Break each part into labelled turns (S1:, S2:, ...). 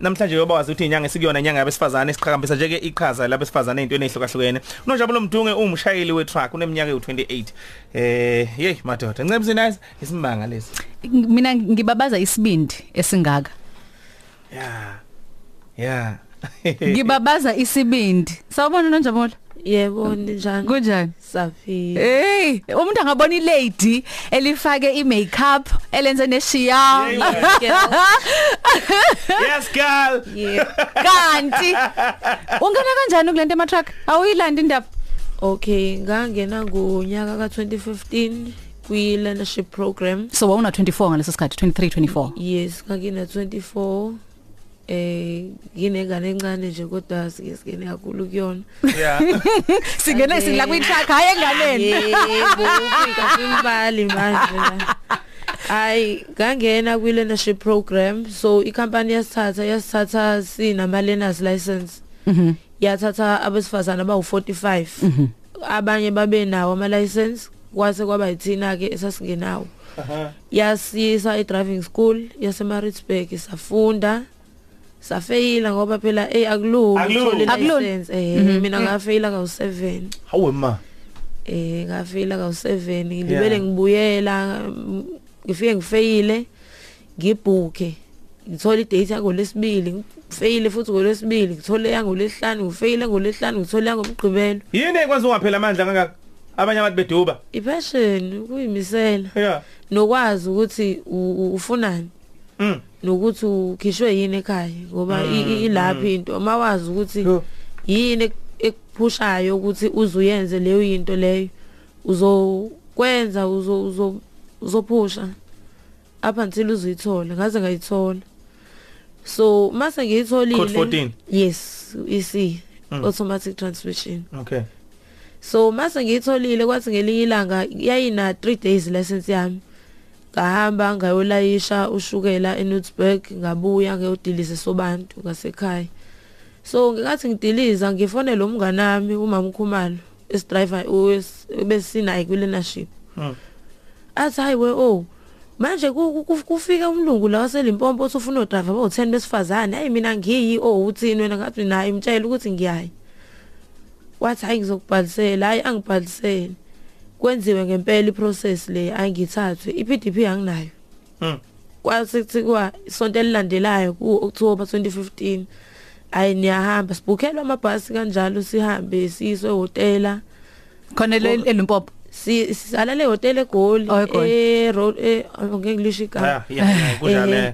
S1: namhlanje yoba wazi ukuthi inyanga sikuyona inyanga yabesifazane siqhakambisa nje ke iqhaza labesifazane ezintweni ezihlukahlukene unonjabulo mdunge umshayeli wetruck uneminyaka ewu28 eh hey madoda ncemzi nice isimanga lesi
S2: mina ngibabaza isibindi esingaka
S1: yeah yeah Eh,
S2: ngibabaza isibindi sawubona nonjabulo
S3: Yebo njani?
S2: kunjani
S3: Safile.
S2: hey umuntu angabona ilady elifake imakeup elenze neshiya
S1: yes girl
S3: Yeah.
S2: kanti ungena kanjani kulento ema truck awuyilandi indaba
S3: Okay, ngangena ngonyaka ka2015 kwi leadership program.
S2: so wawuna 24 ngaleso sikhathi 23 24
S3: Yes, ngakina 24 eh nginengane encane nje kodwa sikesingene kakhulu kuyona.
S1: yeah
S2: singena sila kwi truck hayi enganeni
S3: Yebo, ufika kwimbali manje la. Ay, ngangena kwi leadership program. So i-company yasithatha yasithatha sinama learners license.
S2: mhm
S3: yathatha abesifazana abawu45 abanye babe nawo ama license kwase kwaba yithina ke esasingenawo yasisa e-driving school yaseMaritzburg safunda safeyila ngoba phela hey akulula
S1: Akulula.
S3: ukuthola
S2: Akulula.
S3: i-license. eh mina ngafeyila kawu7
S1: hawe ma
S3: eh ngafeyila kawu7
S1: Yeah.
S3: ngibele ngibuyela mm, ngifike ngifeyile ngibhuke ngithola idate yangolesibili ngifeyile futhi ngolesibili ngithole yangolesihlanu ngifeyile ngolesihlanu ngithole yangomgqibelo
S1: yini ekwenza ungaphela amandla kangaka abanye abantu beduba
S3: ipassion kuyimisela
S1: yeah
S3: nokwazi ukuthi u- u- ufunani
S1: mm
S3: nokuthi ukhishwe yini ekhaya ngoba i- i- ilaphi into mawazi ukuthi
S1: mm. Yo.
S3: yini ek- ekuphushayo ukuthi uzuyenze leyo into leyo uzokwenza uzo- uzo- uzophusha up until uzuyithola ngaze ngayithola so mase
S1: Code Mm. 14.
S3: ngiyitholile yes ec automatic transmission
S1: okay
S3: so mase ngiyitholile kwathi ngelinye ilanga yayina 3 days license yami ngahamba ngayolayisha ushukela eNutsburg ngabuya ngeyodilize sobantu ngasekhaya so ngikathi ngidiliza ngifone lo mngane wami umama Khumalo esidriver ubesinayi kwileadership
S1: mm
S3: athi hayi we oh manje ku- ku- ku- kufika umlungu la waselimpompo othi ufuna udriver bawu-10 besifazane hayi mina ngiyi oh uthini wena ngathi naye imtshela ukuthi ngiyayi wathi hayi ngizokubhalisela hayi angibhaliseli kwenziwe ngempela iprocess le hayi ngithathwe i-pdp anginayo
S1: mm
S3: kwasekuthiwa isonto elilandelayo ku-october 2015 hayi niyahamba sibhukhelwe amabhasi kanjalo sihambe siyiswe hotela
S2: khona le elimpopo
S3: si sala le hotel egoli
S2: Oh, eGoli.
S3: eh road eh nge-English igama
S1: yeah yeah kujane
S3: Eh,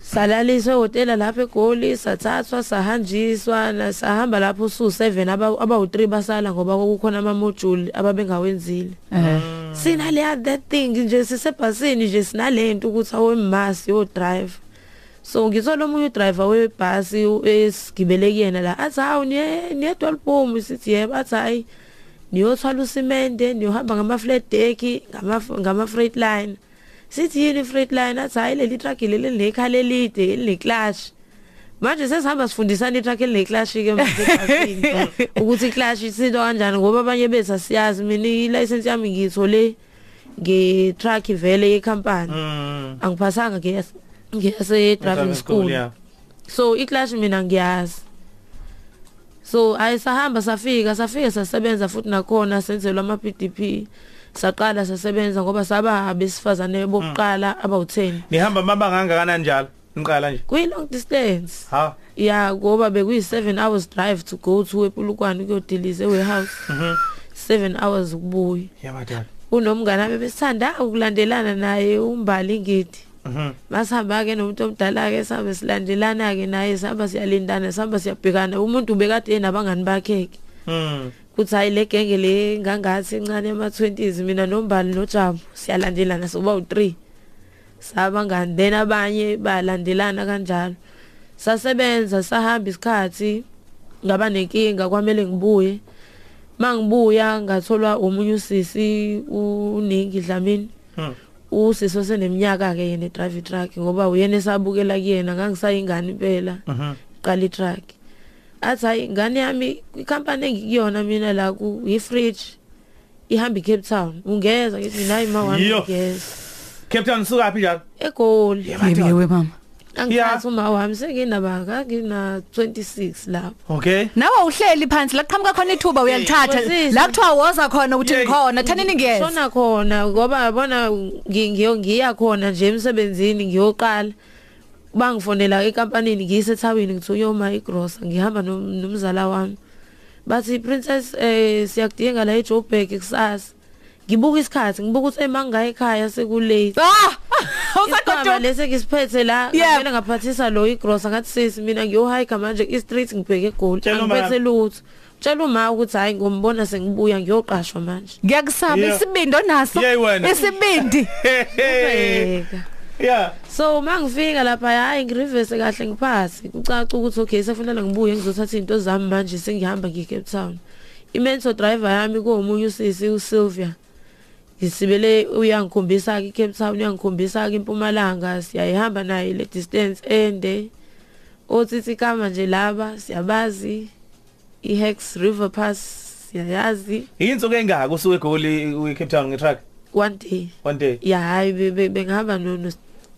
S3: salaliswe hotela lapha egoli sathathwa sahanjiswa na- sahamba lapho su 7 abawu3 basala ngoba kwakukhona ama module ababengawenzile
S2: eh
S3: sina le other thing nje sisebhasini nje sinalento ukuthi awemasi yo drive so ngithola omunye udriver webhasi u- esigibele kuyena la athi hawu niye niye dolbom sithi yebo athi hayi niyothwala usimende niyohamba ngama-flat deck ngama- ngama-freight line sithi yini i-freight line athi hayi leli truck leli linekhala elide elineclash manje sesihamba sifundisana i-truck elineclash-ke msebhasini ukuthi i-clash isinto kanjani ngoba abanye bethu asiyazi mina i-license yami ngiyithole nge-truck vele yekhampani
S1: mm
S3: angiphasanga ngeyas- ngeyase-driving school
S1: yeah
S3: so i-clash mina ngiyazi so hayi sahamba safika safike sasebenza futhi nakhona senzelwa ama-pdp saqala sasebenza ngoba saba abesifazane
S1: Mm.
S3: bokuqala abawu-10
S1: nihamba mabanga kangakanani njalo niqala nje
S3: kwi-long distance
S1: ha
S3: ya ngoba bekuyi-7 hours drive to go to epulukwane kuyodilize ewarehouse
S1: mhm
S3: 7 hours ukubuya
S1: yamadoda
S3: unomngane wami besithanda ukulandelana naye umbali ngidi
S1: mhm
S3: masihamba ke nomuntu omdala ke sabe silandelana ke naye sihamba siyalindana sihamba siyabhekana umuntu ubekade enabangani bakhe ke
S1: mhm
S3: kuthi hayi le genge le ngangathi encane ama-20s mina nombali nojambo siyalandelana soba u-3 sabangani then abanye balandelana kanjalo sasebenza sahamba isikhathi ngaba nenkinga kwamele ngibuye ma ngibuya ngatholwa omunye usisi uningi dlamini
S1: mhm
S3: usisi oseneminyaka-ke yena edrive itruck ngoba uyena esabukela kuyena ngangisayingane impela
S1: mhm
S3: qala itruck athi hayi ngane yami ikhampani engikuyona mina la ku- yi-fridge ihamba i-cape town ungeza ngithi mina hayi ma wami
S1: Yo.
S3: ngeza
S1: Cape Town suka phi njalo
S3: egoli
S1: Yeah,
S2: yebiwe mama
S3: angithatha uma wami senginaba ngangina 26 lapho
S1: okay
S2: nawe uhleli phansi la kuqhamuka khona ithuba uyalithatha
S3: Kwazise.
S2: la kuthiwa woza khona uthi
S1: Yey.
S2: ngikhona thanini ngiyeza
S3: shona khona ngoba bona ngi- ngiyo- ngiya khona nje emsebenzini ngiyoqala bangifonela ekampanini ngiyisethabini ngithi uyoma igrosa ngihamba nom- nomzala wami bathi princess eh siyakudinga la eJoburg kusasa ngibuka isikhathi ngibuka ukuthi emangaya ekhaya sekulate
S2: ah
S3: isikhwama
S2: usakodwa
S3: lesi ngisiphethe la
S2: Yeah.
S3: kumele ngaphathisa lo igrosa ngathi sisi mina ngiyohayikha manje i-street ngibheke egoli
S1: Tshela umama.
S3: angiphethe lutho tshela uma ukuthi hhayi ngombona sengibuya ngiyoqashwa manje
S2: ngiyakusaba
S1: Yeah.
S2: isibindi onaso
S1: Yey wena.
S2: isibindi
S3: Ubheka.
S1: yeah
S3: so uma ngifika lapha hhayi ngirivese kahle ngiphase kucaca ukuthi okay sefunele ngibuye ngizothatha iy'nto zami manje sengihamba ngiye-cape town i-mentor driver yami kuwomunye usisi usylvia ngisibele uyangikhombisa-ke i-cape town uyangikhombisa-ke impumalanga siyayihamba naye le distance ende othithi kama nje laba siyabazi i-hex river pass siyayazi
S1: insuku engaka usuke egoli uCape Town ngetruck
S3: one day
S1: one day
S3: ya hhayi be- be- bengihamba no- no-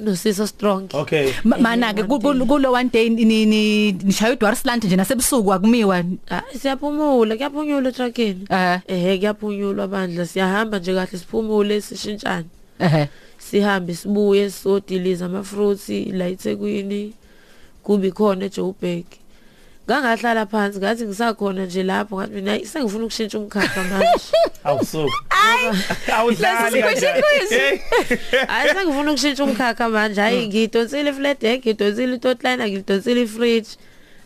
S3: nosiso strong
S1: okay
S2: Ma- mana-ke ku- ku- kulo one day ni- ni- nishaya udwarisland nje nasebusuku akumiwa
S3: hayi Ah, siyaphumula kuyaphunyulwa etrakeni
S2: Eh,
S3: ehe kuyaphunyulwa bandla siyahamba nje kahle siphumule sishintshane
S2: ehe
S3: sihambe sibuye sodiliza ama-fruits la ethekwini kubi khona ejoburg ngangahlala phansi ngathi ngisakhona nje lapho ngathi mina "Ayi, sengifuna ukushintsha umkhakha manje
S1: awusuku awudlali
S2: Lesi sikhwishi
S1: kanjani.
S2: khwishi.
S1: Hey.
S3: hayi sengifuna ukushintsha umkhakha manje hayi ngiyidonsile ifledek ngidonsile itotliner ngidonsile ifridge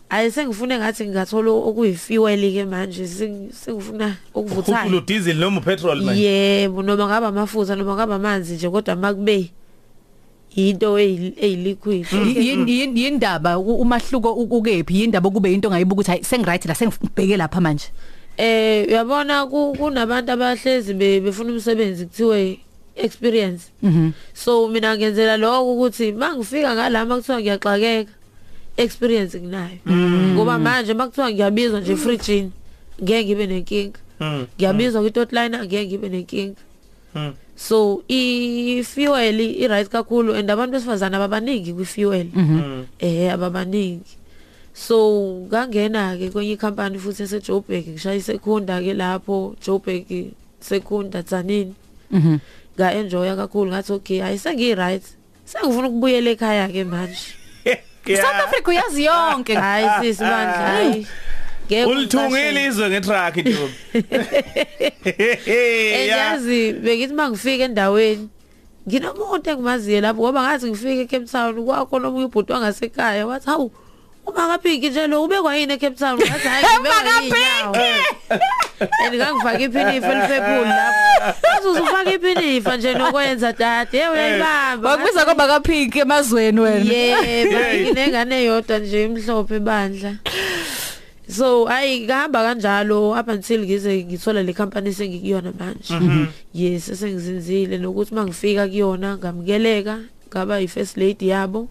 S3: hayi sengifune ngathi ngingathola okuyifiweli-ke manje Seng- sengifuna okuvuthana
S1: Ukhuphula udizili noma upetrol manje
S3: yebo noma ngaba amafutha noma ngaba amanzi nje kodwa makube into eyi- eyiliquid
S2: Hmm. yindaba umahluko u- ukephi yindaba kube into ongayibuka ukuthi hayi sengiright la sengibheke lapha manje
S3: eh uyabona ku- kunabantu abahlezi be- befuna umsebenzi kuthiwe experience
S2: mhm
S3: so mina ngenzela lokho ukuthi mangifika ngalama kuthiwa ngiyaxakeka experience nginayo
S1: Mm.
S3: ngoba manje makuthiwa ngiyabizwa nje fridgini ngeke ngibe nenkinga
S1: Mm,
S3: ngiyabizwa kwitotliner ngeke ngibe nenkinga
S1: mm.
S3: so i-fuel i-right kakhulu and abantu besifazane ababaningi kwi-fuel
S2: mhm,
S1: Mm.
S3: eh ababaningi so ngangena ke kwenye company futhi eseJoburg ngishaya isekunda ke lapho Joburg sekunda Tzanini
S2: mhm
S3: nga enjoy kakhulu ngathi okay hayi sengi right sengifuna ukubuyela ekhaya ke manje
S2: South
S1: Yeah.
S2: Africa uyazi yonke
S3: hayi sisi bandla hayi
S2: Eh,
S3: ngeke
S1: ulithungile izwe ngetruck ntombi Yeah.
S3: Eyazi bengithi mangifika endaweni nginomuntu engimaziyo lapho ngoba ngathi ngifike eCape Town kwakho nomunye ubhuti wangasekhaya wathi hawu uma kaphinki nje lo ubekwa yini eCape Town ngathi hayi ubekwa and ngangifake iphinifa elifebhuli lapho wathi uzufaka iphinifa nje nokwenza dade ye uyayibamba
S2: wakubiza kwaba kaphinki emazweni wena
S3: yebo
S1: Hey.
S3: nginengane eyodwa nje imhlophe bandla so hayi ngihamba kanjalo up until ngize ngithola le company sengikuyona
S1: Mhm. Mm.
S3: manje yes sengizinzile nokuthi mangifika kuyona ngamukeleka ngaba yi-first lady yabo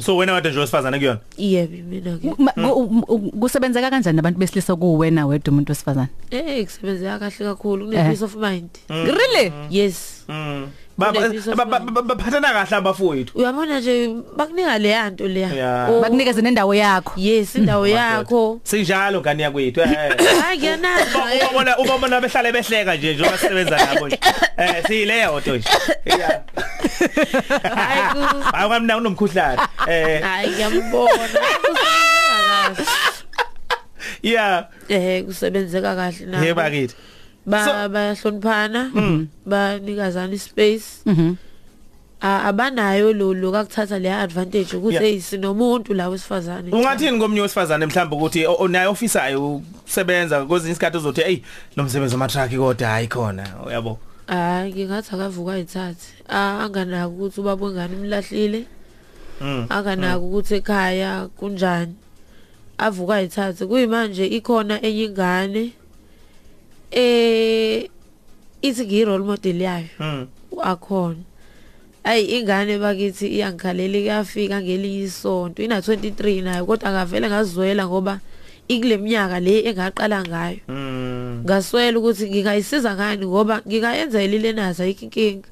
S1: so wena wade nje wesifazane kuyona
S3: yebo mina ke
S2: Ma- ku- u- u- kusebenzeka kanjani nabantu besilisa kuwena wedwa umuntu wesifazane
S3: eh kusebenzeka kahle kakhulu kune peace of mind
S1: Eh.
S2: really
S3: yes
S1: Mm. Ba-
S3: Kune piece of
S1: ba- ba-
S3: mind.
S1: ba- baphathana kahle abafowethu
S3: uyabona nje bakunika leya nto leya
S1: Yeah.
S3: Oh,
S2: bakunikeze nendawo yakho
S3: yes
S1: Hmm. Oh
S3: indawo yakho
S1: sinjalo ngani yakwethu eh.
S3: hayi
S1: Uba-
S3: ngiyanaka
S1: ubabona ubabona behlale behleka nje njengoba sisebenza nabo nje um siyileyoto nje Yeah.
S3: hayi ku-
S1: hayi kwamna unomkhuhlane um
S3: hayi ngiyambona Kusebenzeka kahle.
S1: ya
S3: eh kusebenzeka kahle nabo.
S1: ye bakithi
S3: ba
S1: So- Hmm.
S3: bayahloniphana banikazana ispace
S2: mhm
S3: A- abanayo lo lokuthatha le advantage ukuthi
S1: Yeah.
S3: hey sinomuntu la wesifazane
S1: ungathini komnye wesifazane mhlawumbe ukuthi o- o- naye ofisayo ukusebenza kwezinye isikhathi uzothi eyi lo msebenzi wamatraki kodwa hayi khona uyabo
S3: hayi ngingathi akavuka ayithathe A- anganaki ukuthi ubaba wengane umlahlile
S1: Mm.
S3: anganaki ukuthi ekhaya kunjani avuka ayithathe kuyimanje ikhona enye ingane eh ithi ngiyi-role model yayo
S1: Mm.
S3: akhona ayi ingane bakithi iyangikhalela kuyafika ngelinye isonto ina-23 nayo kodwa ngavele ngazwela ngoba ikule minyaka le engaqala ngayo
S1: Mm.
S3: ngaswela ukuthi ngingayisiza ngani ngoba ngingayenzayilile nazo ayikho inkinga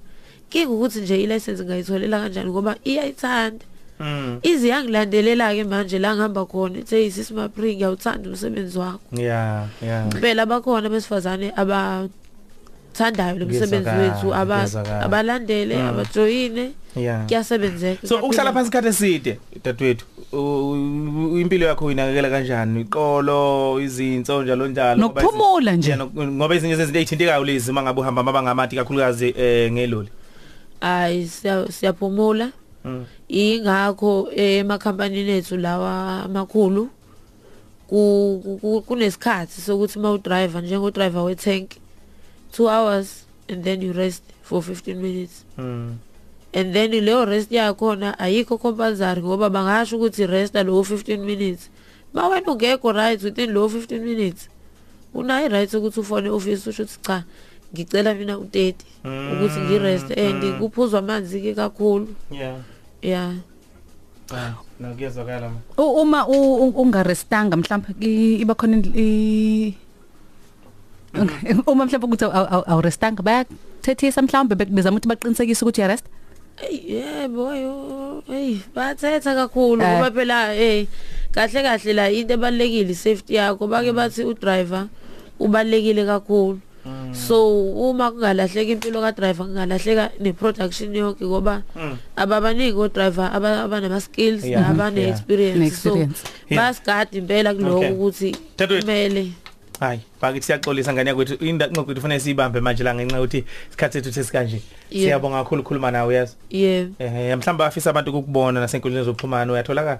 S3: inkinga ukuthi nje i-license ngayitholela kanjani ngoba iyayithanda
S1: Mm.
S3: ize yangilandelela-ke manje la ngihamba khona ithe isisi mapri ngiyawuthanda umsebenzi wakho
S1: Yeah, yeah.
S3: impela bakhona abesifazane abathandayo lo msebenzi
S1: Ngiyezwakala,
S3: wethu aba-
S1: ngiyezwakala.
S3: abalandele
S1: Mm.
S3: abajoyine
S1: Yeah.
S3: kuyasebenzeka
S1: So uhlala phansi isikhathi eside dadwethu. U- u- Impilo yakho uyinakekela kanjani? Iqolo, izinso njalo njalo ngoba izi-
S2: Nokuphumula nje.
S1: Yeah, nok- ngoba izinye zezinto ezithintekayo lezi mangabe uhamba amabanga amade kakhulukazi eh ngeloli.
S3: hayi siya- siyaphumula
S1: Mm.
S3: ingakho emakhampanini ethu lawa amakhulu ku- ku- ku- kunesikhathi sokuthi uma udriver njengodriver wetank two hours and then you rest for 15 minutes
S1: Mm.
S3: and then leyo rest yakhona ayikho compulsory ngoba bangasho ukuthi resta lowo 15 minutes ma wena ungekho right within lowo 15 minutes unayo i-right ukuthi ufone ofisi usho ukuthi cha ngicela mina u-30
S1: Mm,
S3: ukuthi ngirest and
S1: mm.
S3: kuphuzwa amanzi-ke kakhulu
S1: Yeah.
S3: ya
S1: Ah, nakuyezwakala. ma.
S2: U- uma u- u- ungarestanga mhlawumbe i- iba khona indl- i- Okay, uma mhlawumbe ukuthi aw- aw- awurestanga bayakuthethisa mhlawumbe be- bezama ukuthi baqinisekise ukuthi uyarest
S3: Eyi, yebo yo, eyi bathetha kakhulu
S2: Eh.
S3: ngoba phela eyi kahle kahle la into ebalulekile i-safety yakho bake bathi udriver ubalulekile kakhulu
S1: Mm.
S3: so uma kungalahleka impilo kadriver kungalahleka ne-production yonke ngoba
S1: Mm.
S3: ababaningi odriver aba- abanama-skills
S1: Yeah, yeah.
S3: abane-experience so
S2: Ne-experience.
S1: Yeah.
S3: bayasigada impela
S1: Okay.
S3: kuloko ukuthi
S1: Dadewethu.
S3: kumele
S1: Hayi, bakithi siyaxolisa ngane yakwethu. Indaqinqo kwethu fanele siyibambe manje la ngenxa ukuthi isikhathi sethu sesikanje.
S3: Yeah.
S1: Siyabonga kakhulu ukukhuluma nawe yazi.
S3: yebo
S1: Eh mhlamba afisa abantu ukukubona nasenkundleni zokuxhumana uyatholakala.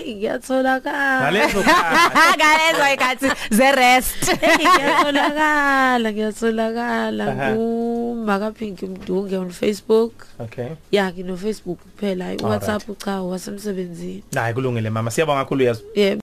S3: Eyi, ngiyatholakala
S1: Ngalezo khathi.
S2: ngalezo ikathi zerest
S3: Eyi, ngiyatholakala ngiyatholakala
S1: Aha.
S3: ngumakaphinki mdunge on facebook
S1: Okay.
S3: ya ngino-facebook kuphela
S1: Alright.
S3: i-whatsapp cha wasemsebenzini
S1: Hayi kulungile mama. Siyabonga kakhulu yazi.
S3: yebo